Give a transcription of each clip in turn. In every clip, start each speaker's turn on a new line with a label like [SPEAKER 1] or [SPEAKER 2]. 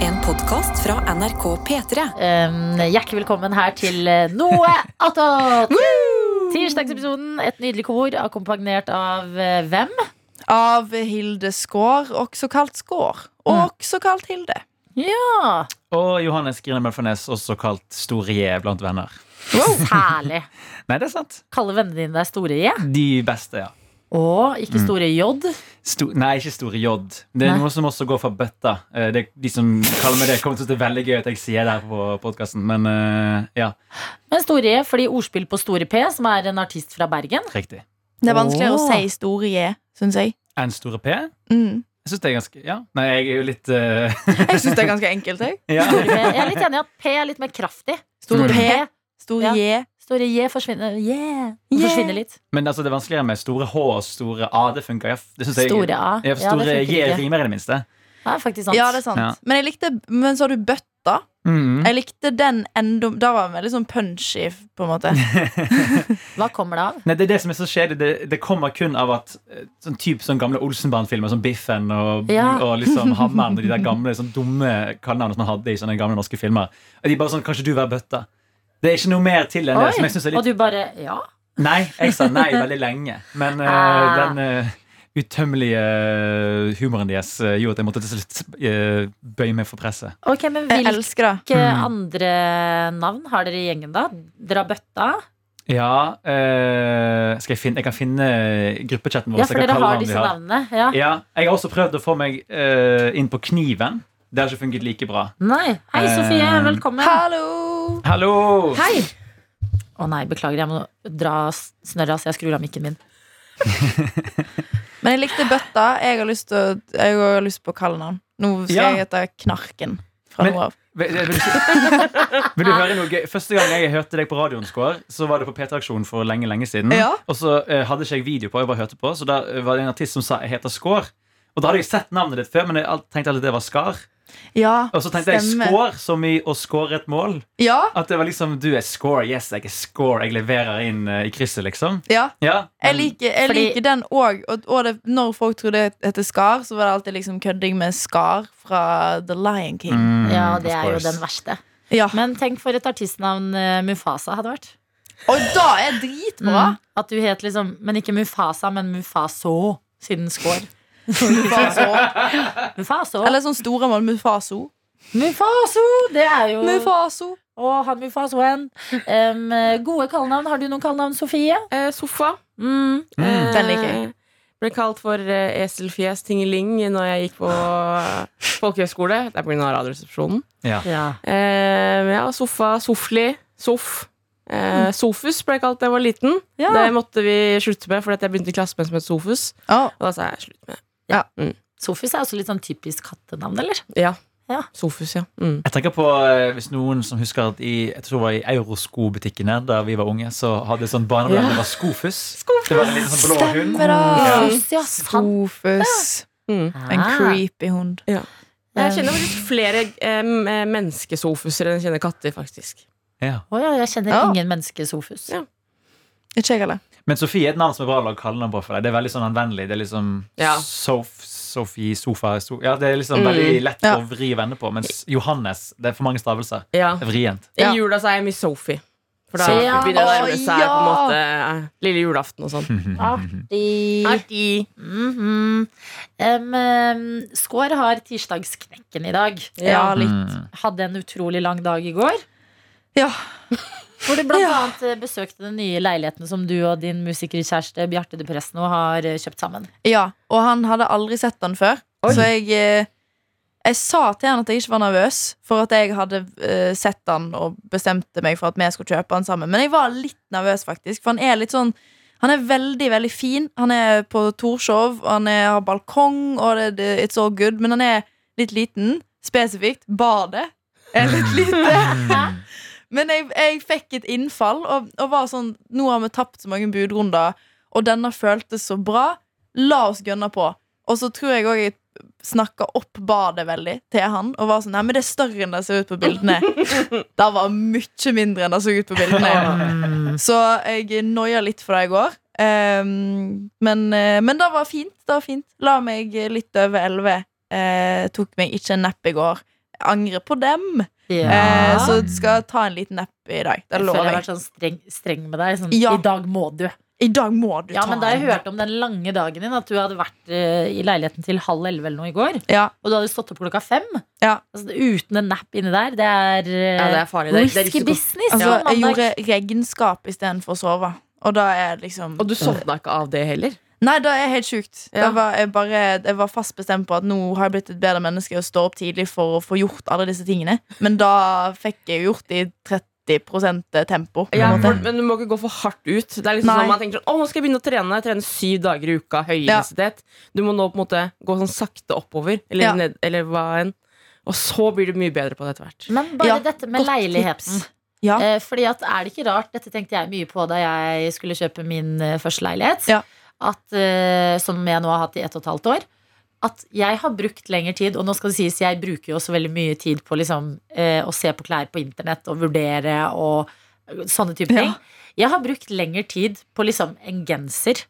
[SPEAKER 1] En podkast fra NRK P3.
[SPEAKER 2] Um, hjertelig velkommen her til eh, Noe attåt! Tirsdagsepisoden, et nydelig kor, akkompagnert av eh, hvem?
[SPEAKER 3] Av Hilde Skår, også kalt Skår. Og også kalt Hilde.
[SPEAKER 2] Ja,
[SPEAKER 4] Og Johannes Grinemøll Farnes, også kalt Storie blant venner.
[SPEAKER 2] Særlig.
[SPEAKER 4] Nei, det er sant.
[SPEAKER 2] Kaller vennene dine deg Store J?
[SPEAKER 4] De beste, ja.
[SPEAKER 2] Og ikke
[SPEAKER 3] Mm.
[SPEAKER 2] Store J.
[SPEAKER 4] Sto nei, ikke Store J. Det er
[SPEAKER 2] Nei.
[SPEAKER 4] noe som også går for bøtta. Eh, Det, de som kaller meg det, kommer til å synes det er veldig gøy at jeg sier det her på podkasten, men eh, ja,
[SPEAKER 2] Men Store J fordi ordspill på Store P, som er en artist fra Bergen.
[SPEAKER 4] riktig.
[SPEAKER 3] Det er vanskeligere
[SPEAKER 2] Åh.
[SPEAKER 3] å si historie, syns jeg.
[SPEAKER 4] En Store P? Jeg
[SPEAKER 3] Mm.
[SPEAKER 4] syns det er ganske Ja, nei, jeg er jo litt eh,
[SPEAKER 3] Jeg syns det er ganske enkelt. Jeg.
[SPEAKER 4] ja.
[SPEAKER 2] Store P. Jeg er litt enig i at P er litt mer kraftig.
[SPEAKER 3] Stor P, stor
[SPEAKER 2] Ja.
[SPEAKER 3] J.
[SPEAKER 2] Store J forsvinner, yeah. Den
[SPEAKER 3] Yeah.
[SPEAKER 2] forsvinner litt.
[SPEAKER 4] Men altså, det er vanskeligere med store H og store A. Det funker. Jeg, det synes jeg,
[SPEAKER 2] Store A.
[SPEAKER 4] Ja, for store
[SPEAKER 2] det
[SPEAKER 4] J
[SPEAKER 2] funker ikke.
[SPEAKER 4] rimer i det minste.
[SPEAKER 2] Ja, faktisk sant.
[SPEAKER 3] Ja, det er sant.
[SPEAKER 4] Ja.
[SPEAKER 3] Men, jeg likte, men så har du bøtta.
[SPEAKER 4] Mm.
[SPEAKER 3] Jeg likte den enda Da var den veldig sånn punchy, på en måte.
[SPEAKER 2] Hva kommer det av?
[SPEAKER 4] Nei, Det er det som er så kjedelig. Det, det kommer kun av at eh, sånn typ sånn gamle Olsenband-filmer som Biffen og,
[SPEAKER 2] Ja.
[SPEAKER 4] og liksom Hammeren og de der gamle sånn dumme kallenavnene som man hadde i sånne gamle norske filmer. Og de bare sånn, Kanskje du være bøtta? Det er ikke noe mer til enn det. som jeg synes er
[SPEAKER 2] og
[SPEAKER 4] litt...
[SPEAKER 2] du bare Ja.
[SPEAKER 4] Nei, jeg sa nei veldig lenge. Men eh,
[SPEAKER 2] Ah.
[SPEAKER 4] den eh, utømmelige humoren deres eh, gjorde at jeg måtte til slutt eh, bøye meg for presset.
[SPEAKER 2] Ok, men
[SPEAKER 3] Jeg
[SPEAKER 2] hvilke
[SPEAKER 3] elsker det.
[SPEAKER 2] Hvilke
[SPEAKER 4] Mm.
[SPEAKER 2] andre navn har dere i gjengen, da? Dere har bøtta?
[SPEAKER 4] Ja, eh, skal jeg, finne, jeg kan finne gruppechatten vår.
[SPEAKER 2] Ja,
[SPEAKER 4] så
[SPEAKER 2] for
[SPEAKER 4] jeg kan
[SPEAKER 2] dere
[SPEAKER 4] kalle
[SPEAKER 2] har
[SPEAKER 4] navn de
[SPEAKER 2] disse navnene. Ja.
[SPEAKER 4] Ja, jeg har også prøvd å få meg eh, inn på kniven. Det har ikke funket like bra.
[SPEAKER 2] Nei. Hei, Sofie.
[SPEAKER 4] Eh,
[SPEAKER 2] Velkommen.
[SPEAKER 3] Hallo!
[SPEAKER 4] Hallo!
[SPEAKER 2] Hei. Å nei, beklager. Jeg må dra snørra så jeg skrur av mikken min.
[SPEAKER 3] Men jeg likte bøtta. Jeg har lyst, til, å- jeg har lyst på kallenavn. Nå skal
[SPEAKER 4] Ja.
[SPEAKER 3] jeg hete Knarken fra
[SPEAKER 4] Men-
[SPEAKER 3] nå av.
[SPEAKER 4] Vil, eh, vil, du- vil du høre noe gøy? Første gang jeg hørte deg på radioen, Skår, så var det på P3-aksjonen for lenge lenge siden.
[SPEAKER 3] Ja.
[SPEAKER 4] Og så eh, hadde ikke jeg video på, jeg bare hørte på, så da eh, var det en artist som sa jeg heter Skår. Og da hadde jeg sett navnet ditt før, men jeg alt- tenkte alltid det var Skar.
[SPEAKER 3] Ja,
[SPEAKER 4] Og så tenkte
[SPEAKER 3] stemmer.
[SPEAKER 4] jeg Skår som i å score et mål.
[SPEAKER 3] Ja,
[SPEAKER 4] At det var liksom du er Skår, yes, jeg er Skår, jeg leverer inn eh, i krysset, liksom.
[SPEAKER 3] ja.
[SPEAKER 4] Ja,
[SPEAKER 3] Jeg
[SPEAKER 4] men-
[SPEAKER 3] liker, jeg
[SPEAKER 2] Fordi-
[SPEAKER 3] liker den òg. Og, og det, når folk tror det heter Skar, så var det alltid liksom kødding med Skar fra The Lion King.
[SPEAKER 4] Mm,
[SPEAKER 2] Ja,
[SPEAKER 4] of
[SPEAKER 2] det er jo
[SPEAKER 4] course.
[SPEAKER 2] den verste.
[SPEAKER 3] Ja.
[SPEAKER 2] Men tenk for et artistnavn eh, Mufasa hadde vært.
[SPEAKER 3] Og da er dritbra!
[SPEAKER 2] Mm. At du het liksom Men ikke Mufasa, men Mufaso. Siden score.
[SPEAKER 3] Mufaso.
[SPEAKER 2] Mufaso.
[SPEAKER 3] Eller sånn store mål. Mufaso.
[SPEAKER 2] Mufaso! Det er jo
[SPEAKER 3] Mufaso.
[SPEAKER 2] Og han vil få oss en. Em, gode kallenavn. Har du noen kallenavn, Sofie?
[SPEAKER 5] Eh, sofa. Eh,
[SPEAKER 2] Mm.
[SPEAKER 4] Mm.
[SPEAKER 3] Den liker jeg.
[SPEAKER 5] Ble kalt for eh, eselfjes, tingeling, når jeg gikk på eh, folkehøyskole. Det er pga. Radioresepsjonen.
[SPEAKER 2] Ja.
[SPEAKER 5] Eh, ja, sofa, sofli, soff. Eh, Sofus ble jeg kalt da jeg var liten.
[SPEAKER 2] Ja.
[SPEAKER 5] Det måtte vi slutte med, fordi at jeg begynte i klasse med en som het Sofus.
[SPEAKER 3] Å,
[SPEAKER 5] Og da sa jeg slutt med det.
[SPEAKER 2] Sofus er også litt sånn typisk kattenavn, eller?
[SPEAKER 5] Ja.
[SPEAKER 2] Ja.
[SPEAKER 5] Sofus, ja. Mm.
[SPEAKER 4] Jeg tenker på, eh, hvis noen som husker at i, jeg tror det var i Eurosko-butikkene der vi var unge, så hadde sånn barnebrand,
[SPEAKER 5] Ja.
[SPEAKER 4] det var skofus. Det var en liten sånn blå hund.
[SPEAKER 3] stemmer da!
[SPEAKER 2] Sofus, ja, sant.
[SPEAKER 3] Sofus.
[SPEAKER 5] Mm.
[SPEAKER 3] Ah. En creepy hund.
[SPEAKER 5] Jeg kjenner faktisk flere eh, m- eh, menneskesofuser enn jeg kjenner katter, faktisk.
[SPEAKER 4] Ja.
[SPEAKER 2] Å ja, jeg kjenner
[SPEAKER 3] Ja.
[SPEAKER 2] ingen menneske Sofus.
[SPEAKER 5] Ja.
[SPEAKER 3] Ikke jeg heller.
[SPEAKER 4] Men Sofie er et navn som er bra å lage kallenavn på for deg. Det er veldig sånn anvendelig. Det er liksom
[SPEAKER 5] Ja.
[SPEAKER 4] sof, Sofie, sofa so, Ja, det er liksom
[SPEAKER 5] Mm.
[SPEAKER 4] veldig lett
[SPEAKER 3] Ja.
[SPEAKER 4] å vri og vende på. Mens Johannes, det er for mange stavelser.
[SPEAKER 5] Ja.
[SPEAKER 4] Det er vrient.
[SPEAKER 5] I
[SPEAKER 3] Ja.
[SPEAKER 5] jula så er jeg Miss Sophie. For da
[SPEAKER 2] Se, ja.
[SPEAKER 5] begynner det å
[SPEAKER 3] Å,
[SPEAKER 5] nærme seg på en
[SPEAKER 3] ja. Mm.
[SPEAKER 5] måte eh, lille julaften og sånn.
[SPEAKER 2] Artig.
[SPEAKER 5] Artig.
[SPEAKER 2] Mhm. Em, em, Skår har tirsdagsknekken i dag.
[SPEAKER 3] Ja, litt.
[SPEAKER 4] Mm.
[SPEAKER 2] Hadde en utrolig lang dag i går.
[SPEAKER 3] Ja.
[SPEAKER 2] Hvor du blant
[SPEAKER 3] Ja.
[SPEAKER 2] annet eh, besøkte den nye leiligheten som du og din musikerkjæreste Bjarte de Presto har eh, kjøpt sammen.
[SPEAKER 3] Ja, og han hadde aldri sett den før. Så jeg, eh, jeg sa til han at jeg ikke var nervøs for at jeg hadde eh, sett han og bestemte meg for at vi skulle kjøpe han sammen. Men jeg var litt nervøs, faktisk. For han er litt sånn Han er veldig, veldig fin. Han er på Torshov, og han er, har balkong, og det, det, it's all good. Men han er litt liten. Spesifikt. Badet er litt lite. Men jeg, jeg fikk et innfall og, og var sånn Nå har vi tapt så mange budrunder, og denne føltes så bra. La oss gønne på. Og så tror jeg òg jeg snakka opp badet veldig til han og var sånn Nei, men det er større enn det ser ut på bildene. det var mye mindre enn det så ut på bildene. Så jeg noia litt for det i går. Ehm, men, eh, men det var fint. Det var fint. La meg litt over elleve. Eh, tok meg ikke en napp i går. angrer på dem.
[SPEAKER 2] Ja.
[SPEAKER 3] Eh, så skal jeg ta en liten napp i dag. Det
[SPEAKER 2] jeg føler jeg
[SPEAKER 3] lover
[SPEAKER 2] har
[SPEAKER 3] jeg.
[SPEAKER 2] vært sånn streng, streng med deg. Sånn,
[SPEAKER 3] Ja.
[SPEAKER 2] I dag må du.
[SPEAKER 3] I dag må du
[SPEAKER 2] Ja,
[SPEAKER 3] ta
[SPEAKER 2] men Da jeg
[SPEAKER 3] en napp.
[SPEAKER 2] hørte om den lange dagen din, at du hadde vært eh, i leiligheten til halv elleve eller noe i går,
[SPEAKER 3] Ja,
[SPEAKER 2] og du hadde stått opp klokka fem
[SPEAKER 3] Ja.
[SPEAKER 2] altså, Uten en napp inni der, det er, eh,
[SPEAKER 5] Ja, det er farlig. Det er, det er
[SPEAKER 2] risky
[SPEAKER 5] risiko.
[SPEAKER 2] business.
[SPEAKER 3] altså,
[SPEAKER 2] på
[SPEAKER 3] jeg
[SPEAKER 2] mandag.
[SPEAKER 3] gjorde regnskap istedenfor å sove. Og da er det liksom
[SPEAKER 5] Og du sovna ikke av det heller?
[SPEAKER 3] Nei, det er helt sjukt.
[SPEAKER 5] Ja.
[SPEAKER 3] Da var jeg, bare, jeg var fast bestemt på at nå har jeg blitt et bedre menneske og står opp tidlig for å få gjort alle disse tingene. Men da fikk jeg jo gjort det i 30 tempo. på en
[SPEAKER 5] Ja,
[SPEAKER 3] måte.
[SPEAKER 5] for, men du må ikke gå for hardt ut. Det er liksom
[SPEAKER 3] Nei.
[SPEAKER 5] sånn man tenker sånn, Å, nå skal jeg begynne å trene. Jeg trener syv dager i uka. Høy
[SPEAKER 3] Ja.
[SPEAKER 5] intensitet. Du må nå på en måte gå sånn sakte oppover. Eller,
[SPEAKER 3] Ja.
[SPEAKER 5] ned, eller hva enn. Og så blir du mye bedre på det etter hvert.
[SPEAKER 2] Men bare
[SPEAKER 3] Ja,
[SPEAKER 2] dette med
[SPEAKER 3] godt
[SPEAKER 2] leilighet.
[SPEAKER 3] tips. Ja.
[SPEAKER 2] Eh, fordi at er det ikke rart, dette tenkte jeg mye på da jeg skulle kjøpe min eh, første leilighet,
[SPEAKER 3] Ja.
[SPEAKER 2] at, eh, som jeg nå har hatt i ett og et halvt år, at jeg har brukt lengre tid, og nå skal det sies jeg bruker jo også veldig mye tid på liksom, eh, å se på klær på internett og vurdere og eh, sånne type
[SPEAKER 3] Ja.
[SPEAKER 2] ting. Jeg har brukt lengre tid på liksom en genser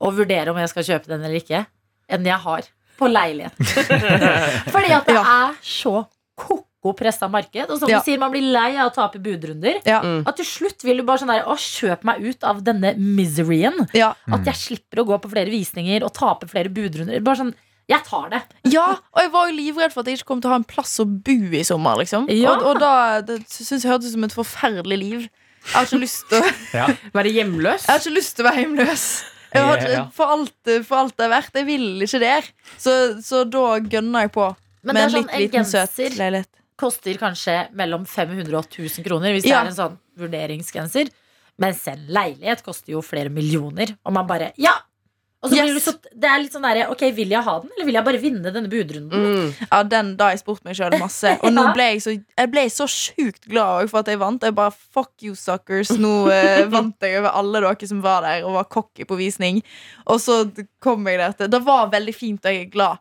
[SPEAKER 2] og vurdere om jeg skal kjøpe den eller ikke, enn jeg har på leiligheten. Fordi at det er så koko pressa marked, og som
[SPEAKER 3] Ja.
[SPEAKER 2] du sier, man blir lei av å tape budrunder.
[SPEAKER 3] Ja.
[SPEAKER 5] Mm.
[SPEAKER 2] At til slutt vil du bare sånn der Å, kjøp meg ut av denne miseryen.
[SPEAKER 3] Ja.
[SPEAKER 2] At jeg slipper å gå på flere visninger og tape flere budrunder. Bare sånn Jeg tar det.
[SPEAKER 3] ja, og jeg var jo livredd for at jeg ikke kom til å ha en plass å bo i sommer. liksom
[SPEAKER 2] Ja.
[SPEAKER 3] Og, og da det syns jeg hørtes ut som et forferdelig liv. Jeg har ikke lyst til å, jeg
[SPEAKER 4] Ja.
[SPEAKER 5] Være hjemløs?
[SPEAKER 3] har ikke lyst til å være hjemløs. Jeg har,
[SPEAKER 4] Ja.
[SPEAKER 3] for, alt, for alt det er verdt. Jeg vil ikke der. Så, så da gønner jeg på
[SPEAKER 2] Men det
[SPEAKER 3] med en
[SPEAKER 2] er sånn,
[SPEAKER 3] litt
[SPEAKER 2] en
[SPEAKER 3] liten, søt
[SPEAKER 2] genser
[SPEAKER 3] leilighet.
[SPEAKER 2] koster kanskje mellom 500 og 1000 kroner hvis det
[SPEAKER 3] Ja.
[SPEAKER 2] er en sånn vurderingsgenser. Mens en leilighet koster jo flere millioner. Og man bare Ja! Og så blir
[SPEAKER 3] Yes.
[SPEAKER 2] du så, det er litt sånn derre Ok, vil jeg ha den, eller vil jeg bare vinne denne budrunden?
[SPEAKER 5] Mm.
[SPEAKER 3] Ja, den da har jeg spurt meg sjøl masse. Og nå
[SPEAKER 2] Ja.
[SPEAKER 3] ble jeg så, jeg ble så sjukt glad også for at jeg vant. Jeg bare fuck you suckers. Nå eh, vant jeg over alle dere som var der og var cocky på visning. Og så kom jeg der til Det var veldig fint, og jeg er glad.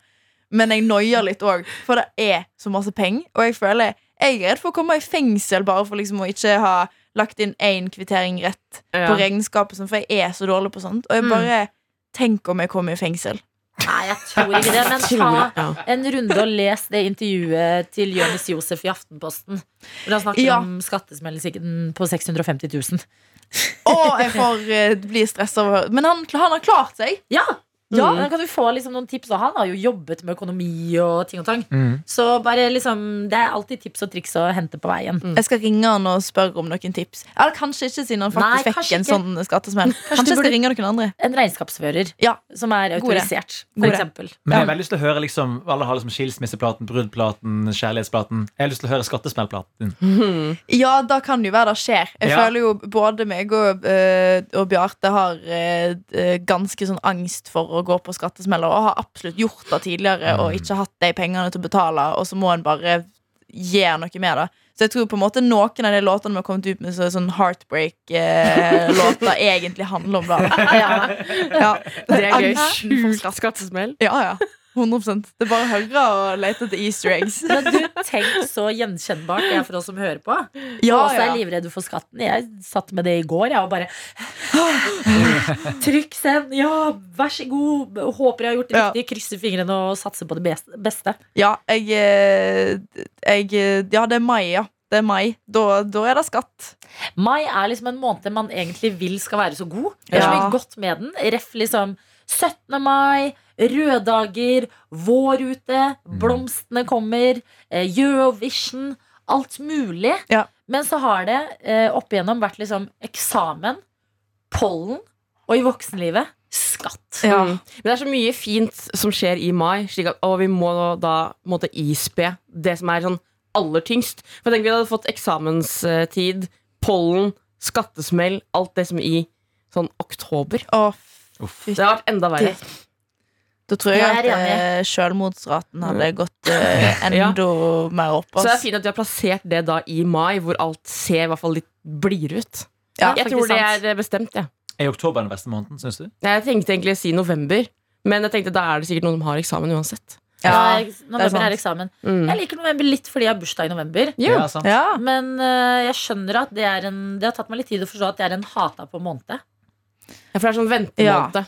[SPEAKER 3] Men jeg noier litt òg, for det er så masse penger. Og jeg føler jeg er redd for å komme i fengsel bare for liksom å ikke ha lagt inn én kvittering rett
[SPEAKER 5] Ja.
[SPEAKER 3] på regnskapet, sånn, for jeg er så dårlig på sånt. Og jeg
[SPEAKER 2] Mm.
[SPEAKER 3] bare Tenk om jeg kommer i fengsel.
[SPEAKER 2] Nei, jeg tror ikke det. Men ta
[SPEAKER 5] Utrolig, ja.
[SPEAKER 2] en runde og les det intervjuet til Jonis Josef i Aftenposten. Hvor han snakker
[SPEAKER 3] Ja.
[SPEAKER 2] om skattesmellsikten på 650 000.
[SPEAKER 3] Og jeg får eh, bli stressa av å høre. Men han, han har klart seg.
[SPEAKER 2] Ja! ja men kan du få liksom noen tips? Og han har jo jobbet med økonomi og ting og tang.
[SPEAKER 4] Mm.
[SPEAKER 2] Så bare liksom, det er alltid tips og triks å hente på veien.
[SPEAKER 3] Jeg skal ringe han og spørre om noen tips. Eller kanskje ikke, siden han
[SPEAKER 2] Nei,
[SPEAKER 3] faktisk fikk
[SPEAKER 2] kanskje
[SPEAKER 3] en
[SPEAKER 2] ikke.
[SPEAKER 3] sånn skattesmell. Kanskje,
[SPEAKER 2] du
[SPEAKER 3] jeg skal
[SPEAKER 2] burde-
[SPEAKER 3] ringe noen andre.
[SPEAKER 2] En regnskapsfører
[SPEAKER 3] Ja.
[SPEAKER 2] som er
[SPEAKER 3] God idé.
[SPEAKER 2] autorisert,
[SPEAKER 3] God idé.
[SPEAKER 2] for eksempel.
[SPEAKER 4] Men jeg har veldig lyst til å høre liksom, alle har liksom skilsmisseplaten, bruddplaten, kjærlighetsplaten. Jeg har lyst til å høre skattesmellplaten.
[SPEAKER 3] Ja, da kan det jo være det skjer. Jeg
[SPEAKER 4] Ja.
[SPEAKER 3] føler jo både meg og, eh, og Bjarte har eh, eh, ganske sånn angst for å gå på skattesmeller, og har absolutt gjort det tidligere og ikke hatt de pengene til å betale, og så må en bare gjøre noe med det. Så jeg tror på en måte noen av de låtene vi har kommet ut med, så- sånn heartbreak-låter, egentlig handler om det.
[SPEAKER 2] Ja.
[SPEAKER 3] Ja.
[SPEAKER 5] Det er gøy.
[SPEAKER 3] Angsten for
[SPEAKER 5] Sjukt
[SPEAKER 3] skatt.
[SPEAKER 5] skattesmell.
[SPEAKER 3] Ja, ja. 100 Det er bare å høre og lete etter easter eggs.
[SPEAKER 2] Men du, tenk så gjenkjennbart det er for oss som hører på.
[SPEAKER 3] Ja,
[SPEAKER 2] og også
[SPEAKER 3] ja.
[SPEAKER 2] er livredd for skatten. Jeg satt med det i går, jeg, og bare Trykk send! Ja, vær så god! Håper jeg har gjort det
[SPEAKER 3] Ja.
[SPEAKER 2] riktig. Krysser fingrene og satser på det bes- beste.
[SPEAKER 3] Ja, jeg, eh, jeg eh, Ja, det er mai, ja. Det er mai. Da, da er det skatt.
[SPEAKER 2] Mai er liksom en måned man egentlig vil skal være så god. Det er så
[SPEAKER 3] Ja.
[SPEAKER 2] mye godt med den. Ref liksom 17. mai, røde dager, vår ute,
[SPEAKER 3] Mm.
[SPEAKER 2] blomstene kommer, eh, Eurovision, alt mulig.
[SPEAKER 3] Ja.
[SPEAKER 2] Men så har det eh, opp igjennom vært liksom eksamen, pollen og i voksenlivet skatt.
[SPEAKER 3] Ja.
[SPEAKER 5] Mm. Men det er så mye fint som skjer i mai, slik at å, vi må da på en måte ispe det som er sånn aller tyngst. For jeg tenker vi hadde fått eksamenstid, pollen, skattesmell, alt det som i sånn oktober.
[SPEAKER 3] Å,
[SPEAKER 5] Det har vært enda verre.
[SPEAKER 3] da tror jeg,
[SPEAKER 2] Jeg er
[SPEAKER 3] at eh, selvmordsraten hadde gått eh,
[SPEAKER 5] Ja.
[SPEAKER 3] enda mer opp.
[SPEAKER 5] Så det er
[SPEAKER 3] ass.
[SPEAKER 5] fint at vi har plassert det da i mai, hvor alt ser i hvert fall litt blidere ut.
[SPEAKER 3] Ja,
[SPEAKER 5] jeg
[SPEAKER 2] faktisk
[SPEAKER 5] tror det
[SPEAKER 2] sant.
[SPEAKER 5] er eh, bestemt, jeg.
[SPEAKER 4] Er oktober den beste måneden, syns du?
[SPEAKER 5] Nei, Jeg tenkte egentlig å si november, men jeg tenkte da er det sikkert noen som har eksamen uansett.
[SPEAKER 3] Ja,
[SPEAKER 2] Nå er- november
[SPEAKER 3] sant.
[SPEAKER 2] er eksamen.
[SPEAKER 5] Mm.
[SPEAKER 2] Jeg liker november litt fordi jeg har bursdag i november.
[SPEAKER 5] Ja.
[SPEAKER 4] sant.
[SPEAKER 3] ja.
[SPEAKER 2] Men eh, jeg skjønner at det, er en, det har tatt meg litt tid å forstå at det er en hata på måned.
[SPEAKER 5] Ja, For det er sånn ventemåned.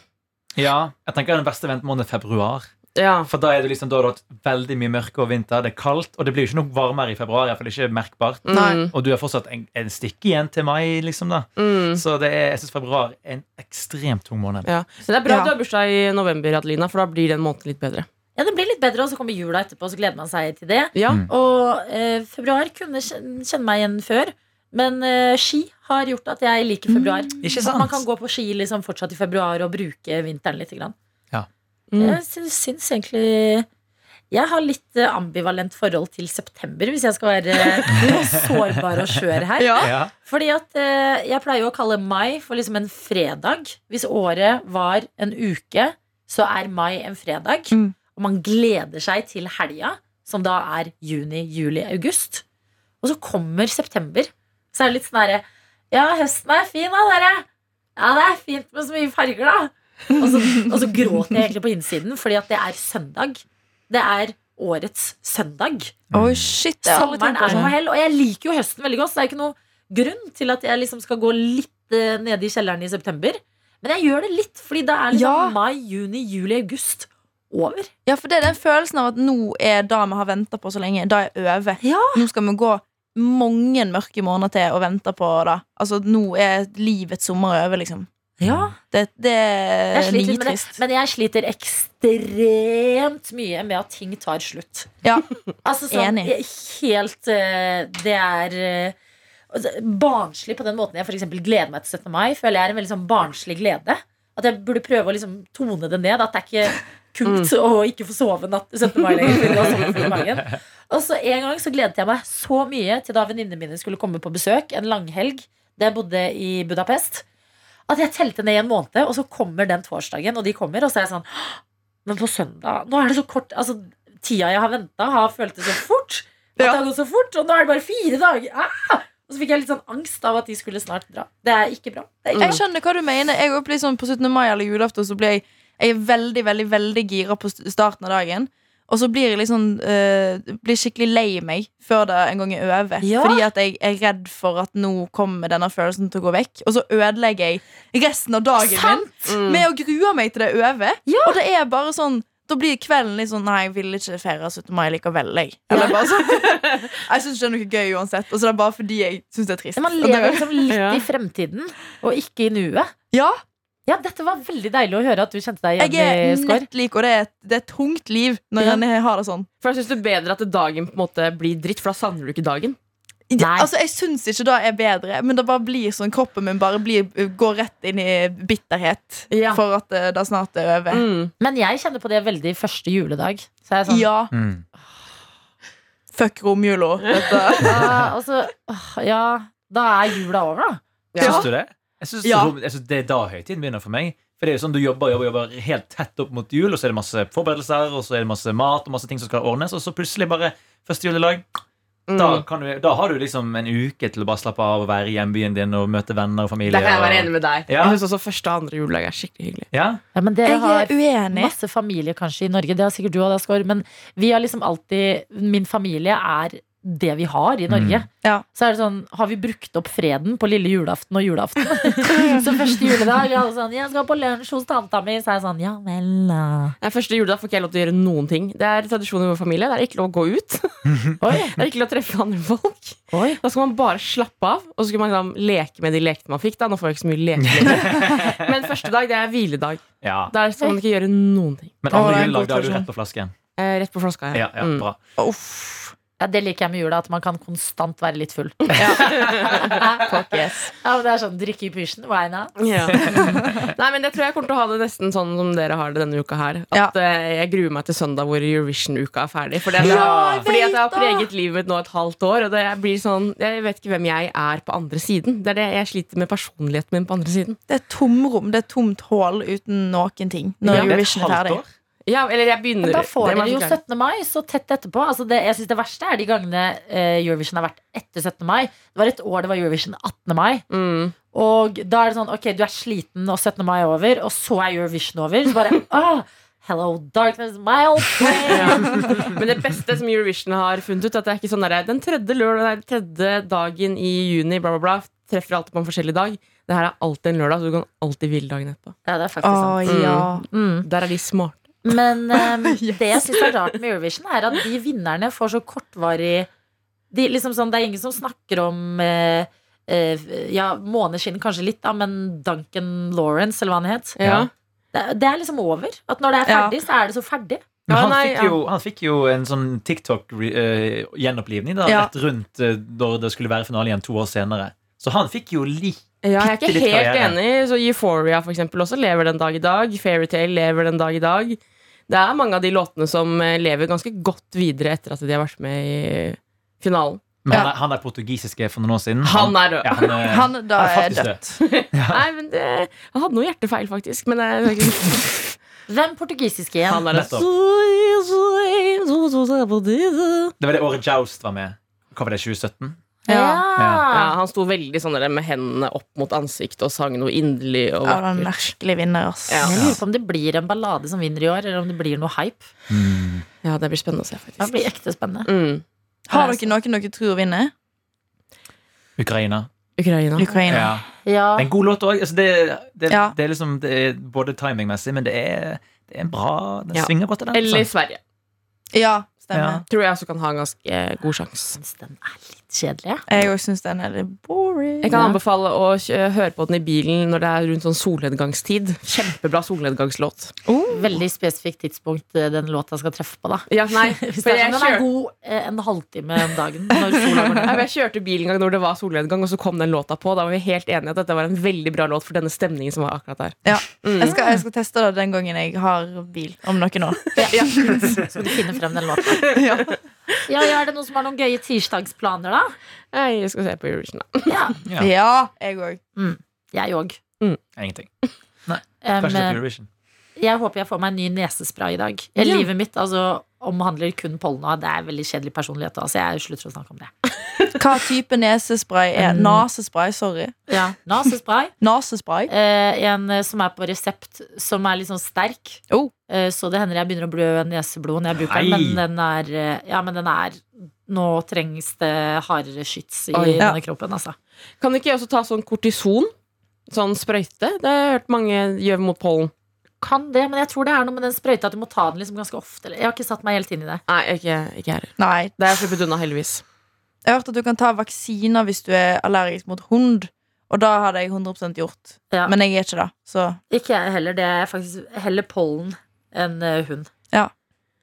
[SPEAKER 4] Ja, jeg tenker den beste ventemåneden er februar.
[SPEAKER 5] Ja.
[SPEAKER 4] For da er det liksom da har du hatt veldig mye mørke og vinter, det er kaldt, og det blir jo ikke noe varmere i februar. i hvert fall ikke merkbart
[SPEAKER 3] Nei.
[SPEAKER 4] Og du har fortsatt en, en stykke igjen til mai, liksom. da
[SPEAKER 5] Mm.
[SPEAKER 4] Så det er, jeg syns februar er en ekstremt tung måned.
[SPEAKER 5] Ja. Men det er bra
[SPEAKER 3] Ja.
[SPEAKER 5] du har bursdag i november, Adelina, for da blir den måneden litt bedre.
[SPEAKER 2] Ja, det blir litt bedre, og så kommer jula etterpå, så gleder man seg til det.
[SPEAKER 5] Ja.
[SPEAKER 4] Mm.
[SPEAKER 2] Og eh, februar kunne kjen- kjenne meg igjen før, men eh, ski har gjort at jeg liker februar.
[SPEAKER 4] Mm, Ikke
[SPEAKER 2] At man
[SPEAKER 4] sant?
[SPEAKER 2] kan gå på ski liksom fortsatt i februar og bruke vinteren litt. Grann.
[SPEAKER 5] Mm.
[SPEAKER 2] Jeg syns, syns egentlig Jeg har litt eh, ambivalent forhold til september, hvis jeg skal være eh, sårbar og skjør her.
[SPEAKER 3] Ja.
[SPEAKER 4] Ja.
[SPEAKER 2] Fordi at eh, jeg pleier jo å kalle mai for liksom en fredag. Hvis året var en uke, så er mai en fredag.
[SPEAKER 3] Mm.
[SPEAKER 2] Og man gleder seg til helga, som da er juni, juli, august. Og så kommer september. Så er det litt sånn herre Ja, høsten er fin, da, dere. Ja, det er fint med så mye farger, da. Og så, og så gråter jeg egentlig på innsiden, fordi at det er søndag. Det er årets søndag.
[SPEAKER 3] Oi, shit. sånn. jeg har aldri
[SPEAKER 2] Sommeren
[SPEAKER 3] tenkt på
[SPEAKER 2] er på
[SPEAKER 3] det.
[SPEAKER 2] hell, og jeg liker jo høsten veldig godt. Så det er ikke noe grunn til at jeg liksom skal gå litt eh, nede i kjelleren i september. Men jeg gjør det litt, fordi da er liksom
[SPEAKER 3] Ja.
[SPEAKER 2] mai, juni, juli, august over.
[SPEAKER 3] Ja, for det er den følelsen av at nå er det vi har venta på så lenge, det er over.
[SPEAKER 2] Ja.
[SPEAKER 3] Nå skal vi gå mange mørke måneder til og vente på det. Altså, nå er livets sommer over, liksom. Det, det
[SPEAKER 2] Jeg
[SPEAKER 3] er
[SPEAKER 2] sliter med det,
[SPEAKER 3] nitrist.
[SPEAKER 2] men jeg sliter ekstremt mye med at ting tar slutt.
[SPEAKER 3] Ja.
[SPEAKER 2] Altså sånn
[SPEAKER 3] Enig.
[SPEAKER 2] helt eh, Det er eh, altså, barnslig på den måten jeg for eksempel gleder meg til 17. mai. Føler jeg er en veldig sånn barnslig glede. At jeg burde prøve å liksom tone det ned. At det er ikke kult å ikke få sove natt 17. mai lenger. fordi da sover jeg full i magen. Og så En gang så gledet jeg meg så mye til da venninnene mine skulle komme på besøk. En langhelg. Da jeg bodde i Budapest. At jeg telte ned i en måned, og så kommer den torsdagen, og de kommer, og så er jeg sånn Men på søndag Nå er det så kort Altså, tida jeg har venta, har føltes så fort. At
[SPEAKER 3] Ja.
[SPEAKER 2] det har gått så fort, og nå er det bare fire dager. Ah! Og så fikk jeg litt sånn angst av at de skulle snart dra. Det er ikke bra. Det er ikke
[SPEAKER 3] Jeg skjønner hva du mener. Jeg også blir sånn På 17. mai eller julaften så blir jeg, jeg er veldig veldig, veldig gira på st- starten av dagen. Og så blir jeg liksom, eh, blir skikkelig lei meg før det en gang er over.
[SPEAKER 2] Ja.
[SPEAKER 3] Fordi at jeg er redd for at nå kommer denne følelsen til å gå vekk. Og så ødelegger jeg resten av dagen
[SPEAKER 2] Mm.
[SPEAKER 5] Mm.
[SPEAKER 3] min med å grue meg til det er over. Og det er bare sånn da blir kvelden litt sånn Nei, jeg vil ikke feire 17. mai likevel. Jeg, Eller bare sånn. jeg syns ikke det er noe gøy uansett. Og så er det bare fordi jeg syns det er trist.
[SPEAKER 2] Men Man
[SPEAKER 3] Og det-
[SPEAKER 2] lever liksom litt
[SPEAKER 5] Ja.
[SPEAKER 2] i fremtiden, og ikke i nuet.
[SPEAKER 3] ja,
[SPEAKER 2] Ja, dette var veldig deilig å høre at du kjente deg
[SPEAKER 3] Jeg
[SPEAKER 2] igjen i
[SPEAKER 3] er
[SPEAKER 2] Skår.
[SPEAKER 3] nettlik, og det er, det er et tungt liv når
[SPEAKER 2] Ja.
[SPEAKER 3] en har det sånn.
[SPEAKER 5] For jeg syns det er bedre at dagen på en måte blir dritt, for da savner du ikke dagen.
[SPEAKER 2] Nei.
[SPEAKER 3] Altså, Jeg syns ikke det er bedre, men det bare blir sånn kroppen min bare blir, går rett inn i bitterhet
[SPEAKER 5] Ja.
[SPEAKER 3] for at eh, det snart er over.
[SPEAKER 5] Mm.
[SPEAKER 2] Men jeg kjenner på det veldig første juledag. Så er jeg sånn
[SPEAKER 3] Ja,
[SPEAKER 4] Mm.
[SPEAKER 3] fuck romjula. Dette-
[SPEAKER 2] «Ah, altså, åh, Ja, da er jula over, da.
[SPEAKER 5] Ja.
[SPEAKER 4] Syns du det? Jeg syns,
[SPEAKER 3] Ja.
[SPEAKER 4] jeg syns det er da høytiden begynner for meg. For det er jo sånn Du jobber jobber, jobber helt tett opp mot jul, og så er det masse forberedelser, og så er det masse mat og masse ting som skal ordnes, og så plutselig bare første juledag.
[SPEAKER 5] Mm.
[SPEAKER 4] Da, kan du, da har du liksom en uke til å bare slappe av og være i hjembyen din og møte venner og familie.
[SPEAKER 5] Der kan jeg være
[SPEAKER 4] og-
[SPEAKER 5] enig med deg.
[SPEAKER 4] Ja.
[SPEAKER 5] Jeg syns også første og andre juledag er skikkelig hyggelig.
[SPEAKER 4] Ja?
[SPEAKER 2] Ja, men dere
[SPEAKER 3] Jeg
[SPEAKER 2] har
[SPEAKER 3] er uenig.
[SPEAKER 2] masse familie kanskje i Norge. Det har sikkert du òg, Skår. Men vi har liksom alltid Min familie er det vi har i Norge.
[SPEAKER 3] Mm. Ja.
[SPEAKER 2] Så er det sånn, har vi brukt opp freden på lille julaften og julaften? så første juledag er alle sånn 'Jeg skal på lunsj hos tanta mi', så er jeg sånn 'Ja vel, da'.
[SPEAKER 5] Nei, første juledag får ikke jeg lov til å gjøre noen ting. Det er tradisjon i vår familie. Det er ikke lov å gå ut.
[SPEAKER 2] Oi,
[SPEAKER 5] Det er ikke lov å treffe andre folk.
[SPEAKER 2] oi.
[SPEAKER 5] Da skal man bare slappe av, og så skal man liksom leke med de lekene man fikk. Da. Nå får jeg ikke så mye leker lenger. Men første dag, det er hviledag.
[SPEAKER 4] ja.
[SPEAKER 5] Der skal man ikke gjøre noen ting.
[SPEAKER 4] Men
[SPEAKER 3] Å, det
[SPEAKER 4] andre
[SPEAKER 3] er en
[SPEAKER 4] juledag
[SPEAKER 3] god
[SPEAKER 4] da er du
[SPEAKER 3] tradisjon.
[SPEAKER 4] rett på flasken.
[SPEAKER 5] Eh, rett på flaska.
[SPEAKER 4] Ja, ja,
[SPEAKER 5] Mm.
[SPEAKER 4] bra
[SPEAKER 3] Uff.
[SPEAKER 2] Ja, Det liker jeg med jula, at man kan konstant være litt full.
[SPEAKER 3] Fuck yes.
[SPEAKER 2] Ja, men det er sånn, Drikke i pysjen, why not?
[SPEAKER 5] Ja. Nei, men jeg tror jeg kommer til å ha det nesten sånn som dere har det denne uka her. At eh, jeg gruer meg til søndag hvor Eurovision-uka er ferdig. For det er,
[SPEAKER 4] Ja, jeg
[SPEAKER 5] fordi at jeg har
[SPEAKER 3] vet det!
[SPEAKER 5] preget livet mitt nå et halvt år, og det blir sånn Jeg vet ikke hvem jeg er på andre siden. Det er det jeg sliter med personligheten min på andre siden.
[SPEAKER 3] Det er tomrom. Det er tomt hull uten noen ting når
[SPEAKER 5] Ja, det er et
[SPEAKER 3] Eurovision er ferdig.
[SPEAKER 5] Ja, eller jeg begynner
[SPEAKER 2] Men da får
[SPEAKER 5] det må
[SPEAKER 2] dere
[SPEAKER 5] jeg
[SPEAKER 2] jo
[SPEAKER 5] forklare.
[SPEAKER 2] 17. mai så tett etterpå. Altså det, jeg synes det verste er de gangene eh, Eurovision har vært etter 17. mai. Det var et år det var Eurovision 18. mai.
[SPEAKER 5] Mm.
[SPEAKER 2] Og da er det sånn, ok, du er sliten og 17. mai er over, og så er Eurovision over. Så bare, ah, hello darkness, my old friend.
[SPEAKER 5] Ja. Men det beste som Eurovision har funnet ut, er at det er ikke sånn der, den tredje, lørdag, nei, tredje dagen i juni bla, bla, bla, treffer alltid på en forskjellig dag. Det her er alltid en lørdag, så du kan alltid hvile dagen etterpå.
[SPEAKER 2] Ja, det er faktisk
[SPEAKER 3] Å
[SPEAKER 2] sant.
[SPEAKER 3] ja.
[SPEAKER 5] Der er de smarte.
[SPEAKER 2] Men ehm, det jeg syns er rart med Eurovision, er at de vinnerne får så kortvarig de, liksom sånn, Det er ingen som snakker om eh, eh, Ja, måneskinn kanskje litt, da, men Duncan Lawrence, eller hva han het.
[SPEAKER 5] Ja.
[SPEAKER 2] Det, det er liksom over. At når det er
[SPEAKER 3] Ja.
[SPEAKER 2] ferdig, så er det så ferdig.
[SPEAKER 4] Men
[SPEAKER 5] Ja,
[SPEAKER 4] han,
[SPEAKER 5] nei,
[SPEAKER 4] fikk jo, han fikk jo en sånn TikTok-gjenopplivning da,
[SPEAKER 3] Ja.
[SPEAKER 4] rett rundt eh, da det skulle være finale igjen to år senere. Så han fikk jo lik
[SPEAKER 5] Ja, jeg er ikke
[SPEAKER 4] Bitte litt
[SPEAKER 5] helt
[SPEAKER 4] karriere.
[SPEAKER 5] enig. Så Euphoria for eksempel, også lever den dag i dag. Fairytale lever den dag i dag. Det er mange av de låtene som eh, lever ganske godt videre etter at de har vært med i finalen.
[SPEAKER 4] Men han
[SPEAKER 3] Ja.
[SPEAKER 4] er, han er portugisiske for noen år siden.
[SPEAKER 5] Han er død.
[SPEAKER 4] ja, han er,
[SPEAKER 3] Han da
[SPEAKER 4] han
[SPEAKER 3] er
[SPEAKER 4] faktisk
[SPEAKER 3] dødt.
[SPEAKER 5] Nei, men det, Han hadde noe hjertefeil, faktisk. Men jeg,
[SPEAKER 2] Hvem portugisiske igjen?
[SPEAKER 5] han er
[SPEAKER 4] Nettopp. Det var det året Joust var med. Hva var det, 2017?
[SPEAKER 3] Ja.
[SPEAKER 5] Ja, han sto veldig sånn der med hendene opp mot ansiktet og sang noe inderlig og
[SPEAKER 3] Ja, det er en
[SPEAKER 5] vakkert.
[SPEAKER 3] merkelig vinner, ass.
[SPEAKER 5] Ja.
[SPEAKER 2] Jeg lurer på om det blir en ballade som vinner i år, eller om det blir noe hype.
[SPEAKER 5] Ja, det blir spennende å se,
[SPEAKER 2] Det
[SPEAKER 5] faktisk.
[SPEAKER 2] blir ekte spennende.
[SPEAKER 5] Mm.
[SPEAKER 3] Har dere noen dere tror vinner?
[SPEAKER 4] Ukraina.
[SPEAKER 5] Ukraina.
[SPEAKER 3] Ukraina.
[SPEAKER 4] Ja.
[SPEAKER 2] Ja.
[SPEAKER 4] Det er en god låt òg. Altså det, det,
[SPEAKER 3] Ja.
[SPEAKER 4] det er liksom det er både timingmessig, men det er, det er en bra Den
[SPEAKER 5] Ja.
[SPEAKER 4] svinger godt, den.
[SPEAKER 5] Eller
[SPEAKER 4] sånn.
[SPEAKER 5] Sverige.
[SPEAKER 3] Ja,
[SPEAKER 4] Ja.
[SPEAKER 3] stemmer.
[SPEAKER 5] Tror jeg også kan ha en ganske eh, god sjanse.
[SPEAKER 2] synes den er litt kjedelig.
[SPEAKER 3] Jeg òg syns den er litt boring.
[SPEAKER 5] Jeg kan anbefale å kjø- høre på den i bilen når det er rundt sånn solnedgangstid. Kjempebra solnedgangslåt.
[SPEAKER 2] Veldig spesifikt tidspunkt eh, den låta skal treffe på, da.
[SPEAKER 5] Ja, nei,
[SPEAKER 2] Hvis
[SPEAKER 5] for
[SPEAKER 2] det er
[SPEAKER 5] jeg,
[SPEAKER 2] sånn, den er
[SPEAKER 5] kjør...
[SPEAKER 2] god eh, en halvtime om dagen når sola går
[SPEAKER 5] Nei,
[SPEAKER 2] ned.
[SPEAKER 5] men jeg kjørte bil en gang når det var solnedgang, og så kom den låta på. Da var vi helt enige at dette var en veldig bra låt for denne stemningen som var akkurat der.
[SPEAKER 3] Ja.
[SPEAKER 5] Mm.
[SPEAKER 3] Jeg skal, jeg skal teste det den gangen jeg har bil om noen år.
[SPEAKER 5] Ja.
[SPEAKER 2] Skal du finne frem den låta? Ja, ja, er det noen som har noen gøye tirsdagsplaner, da?
[SPEAKER 5] Nei, Jeg skal se på Eurovision, da.
[SPEAKER 2] Ja,
[SPEAKER 4] Ja.
[SPEAKER 3] Ja, jeg òg.
[SPEAKER 2] jeg òg.
[SPEAKER 4] Ingenting.
[SPEAKER 2] Um,
[SPEAKER 4] Kanskje litt Eurovision.
[SPEAKER 2] jeg håper jeg får meg en ny nesespray i dag. Jeg,
[SPEAKER 5] Ja.
[SPEAKER 2] Livet mitt altså, omhandler kun pollen. og Det er veldig kjedelig personlighet. Altså, jeg slutter å snakke om det.
[SPEAKER 3] Hva type nesespray er Nasespray, sorry.
[SPEAKER 2] Ja. Nasespray.
[SPEAKER 3] Nasespray.
[SPEAKER 2] Eh, en eh, som er på resept, som er litt sånn sterk.
[SPEAKER 5] Oh.
[SPEAKER 2] Eh, så det hender jeg begynner å blø neseblod når jeg bruker
[SPEAKER 4] Nei.
[SPEAKER 2] den, men den er eh, Ja, men den er Nå trengs det hardere skyts i
[SPEAKER 5] Oi.
[SPEAKER 2] denne kroppen, altså.
[SPEAKER 5] Kan du ikke også ta sånn kortison? Sånn sprøyte? Det har jeg hørt mange gjør mot pollen.
[SPEAKER 2] Kan det, men jeg tror det er noe med den sprøyta at du må ta den liksom ganske ofte. Eller, jeg har ikke satt meg helt inn i det.
[SPEAKER 5] Nei, ikke, ikke her.
[SPEAKER 3] Nei.
[SPEAKER 5] Det har jeg sluppet unna, heldigvis.
[SPEAKER 3] Jeg har hørt at du kan ta vaksiner hvis du er allergisk mot hund. Og da hadde jeg 100 gjort.
[SPEAKER 2] Ja.
[SPEAKER 3] Men jeg er ikke det. Så
[SPEAKER 2] Ikke jeg heller. Det er faktisk heller pollen enn eh, hund.
[SPEAKER 3] Ja.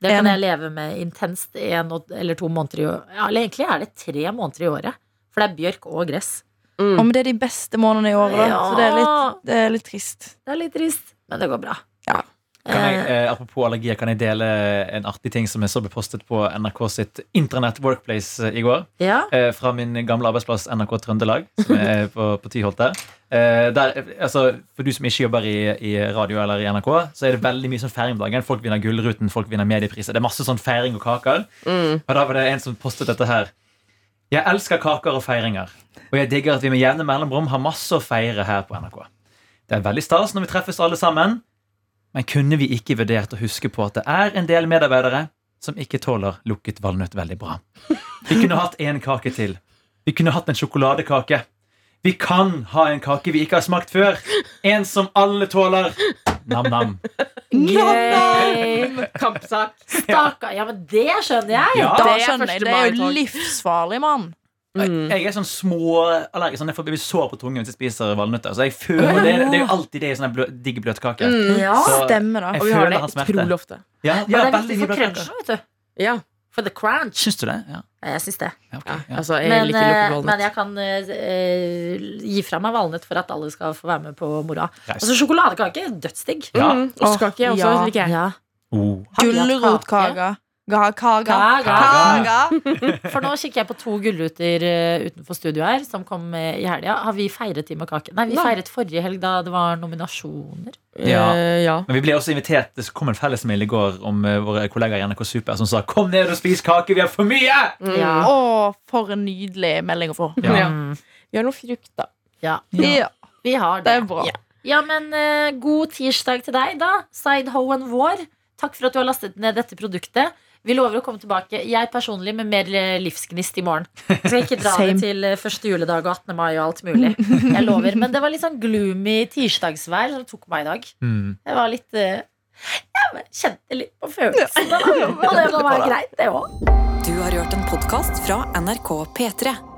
[SPEAKER 2] Det kan
[SPEAKER 3] Enig.
[SPEAKER 2] jeg leve med intenst en og- eller to måneder i året. Ja, eller egentlig er det tre måneder i året. For det er bjørk og gress.
[SPEAKER 5] Mm.
[SPEAKER 3] Om det er de beste månedene i året, da. Så det er litt, det er litt trist.
[SPEAKER 2] Det er litt trist, men det går bra.
[SPEAKER 3] Ja.
[SPEAKER 4] Kan jeg, eh, apropos allergier, kan jeg dele en artig ting som jeg så ble postet på NRK sitt internett workplace eh, i går?
[SPEAKER 2] Eh, ja.
[SPEAKER 4] eh, fra min gamle arbeidsplass NRK Trøndelag, som er på, på Tyholte. Eh, der, eh, altså, for du som ikke jobber i, i radio eller i NRK, så er det veldig mye sånn feiring om dagen. Folk vinner Gullruten, folk vinner mediepriser. Det er masse sånn feiring og kaker.
[SPEAKER 5] Mm.
[SPEAKER 4] Og da var det en som postet dette her. Jeg elsker kaker og feiringer, og jeg digger at vi med jevne mellomrom har masse å feire her på NRK. Det er veldig stas når vi treffes alle sammen, men kunne vi ikke vurdert å huske på at det er en del medarbeidere som ikke tåler lukket valnøtt veldig bra? Vi kunne hatt en kake til. Vi kunne hatt en sjokoladekake. Vi kan ha en kake vi ikke har smakt før. En som alle tåler. Nam-nam.
[SPEAKER 2] Yay!
[SPEAKER 5] Kampsak.
[SPEAKER 2] Stakkar. Ja, men det skjønner jeg.
[SPEAKER 4] Ja,
[SPEAKER 3] Da
[SPEAKER 5] det er
[SPEAKER 3] skjønner jeg.
[SPEAKER 5] første
[SPEAKER 3] Det er jo
[SPEAKER 5] mai-tog.
[SPEAKER 3] livsfarlig, mann.
[SPEAKER 5] Mm.
[SPEAKER 4] Jeg er sånn småallergisk. Sånn, jeg får blir sår på tungen hvis jeg spiser valnøtter. Så jeg føler det, det er jo alltid det i sånne blø, digg bløtkake.
[SPEAKER 2] Ja.
[SPEAKER 5] Ah,
[SPEAKER 4] Så-
[SPEAKER 3] Stemmer, da.
[SPEAKER 4] Jeg
[SPEAKER 5] Mm. Og vi har
[SPEAKER 4] føler
[SPEAKER 5] det
[SPEAKER 4] hans smerte.
[SPEAKER 5] utrolig ofte.
[SPEAKER 2] Men
[SPEAKER 4] Ja, ja,
[SPEAKER 2] Mm. det er
[SPEAKER 4] veldig
[SPEAKER 2] viktig
[SPEAKER 4] mye
[SPEAKER 2] for
[SPEAKER 4] bløtkake.
[SPEAKER 2] crunchen, vet du.
[SPEAKER 5] Ja.
[SPEAKER 2] For the crunch.
[SPEAKER 4] Syns du det? Ja.
[SPEAKER 2] Ja, jeg syns det.
[SPEAKER 4] ja, ok,
[SPEAKER 5] ja.
[SPEAKER 4] ja.
[SPEAKER 5] Altså, jeg
[SPEAKER 2] Men,
[SPEAKER 5] liker
[SPEAKER 2] eh,
[SPEAKER 5] lukket
[SPEAKER 2] men jeg kan eh, eh, gi fra meg valnøtt for at alle skal få være med på moroa.
[SPEAKER 4] Raus.
[SPEAKER 2] Altså, sjokoladekake dødsdigg.
[SPEAKER 4] Ja.
[SPEAKER 5] Mm. Og skake
[SPEAKER 3] Åh,
[SPEAKER 5] også,
[SPEAKER 3] ja.
[SPEAKER 5] liker jeg.
[SPEAKER 4] Oh.
[SPEAKER 3] Gulrotkaka. Ga-
[SPEAKER 2] Kaga.
[SPEAKER 3] Kaga. Kaga.
[SPEAKER 2] For nå kikker jeg på to gullruter eh, utenfor studio her, som kom eh, i helga. Har vi feiret de med kake? Nei, vi
[SPEAKER 5] Nei.
[SPEAKER 2] feiret forrige helg, da det var nominasjoner.
[SPEAKER 4] Ja.
[SPEAKER 5] Eh, ja.
[SPEAKER 4] Men vi ble også invitert Det kom en fellesmail i går om eh, våre kollegaer i NRK Super som sa 'Kom ned og spis kake, vi har for mye!'
[SPEAKER 5] Ja.
[SPEAKER 3] Mm. Å, for en nydelig melding å få.
[SPEAKER 4] Ja.
[SPEAKER 5] Ja. Vi har noe frukt, da.
[SPEAKER 3] Ja,
[SPEAKER 2] Mm. Vi har
[SPEAKER 3] det
[SPEAKER 2] det.
[SPEAKER 3] er bra.
[SPEAKER 5] Ja.
[SPEAKER 2] Ja, men eh, god tirsdag til deg, da. Side Hoen vår. Takk for at du har lastet ned dette produktet. Vi lover å komme tilbake, jeg personlig, med mer eh, livsgnist i morgen. Jeg skal ikke dra det
[SPEAKER 3] Same.
[SPEAKER 2] til eh, første juledag og 18. mai og alt mulig. Jeg lover. Men det var litt sånn gloomy tirsdagsvær som tok meg i dag.
[SPEAKER 4] Mm.
[SPEAKER 2] Det var litt eh, Ja, men kjente litt på følelsene, da. Og det må være greit, det òg.
[SPEAKER 1] Du har hørt en podkast fra NRK P3.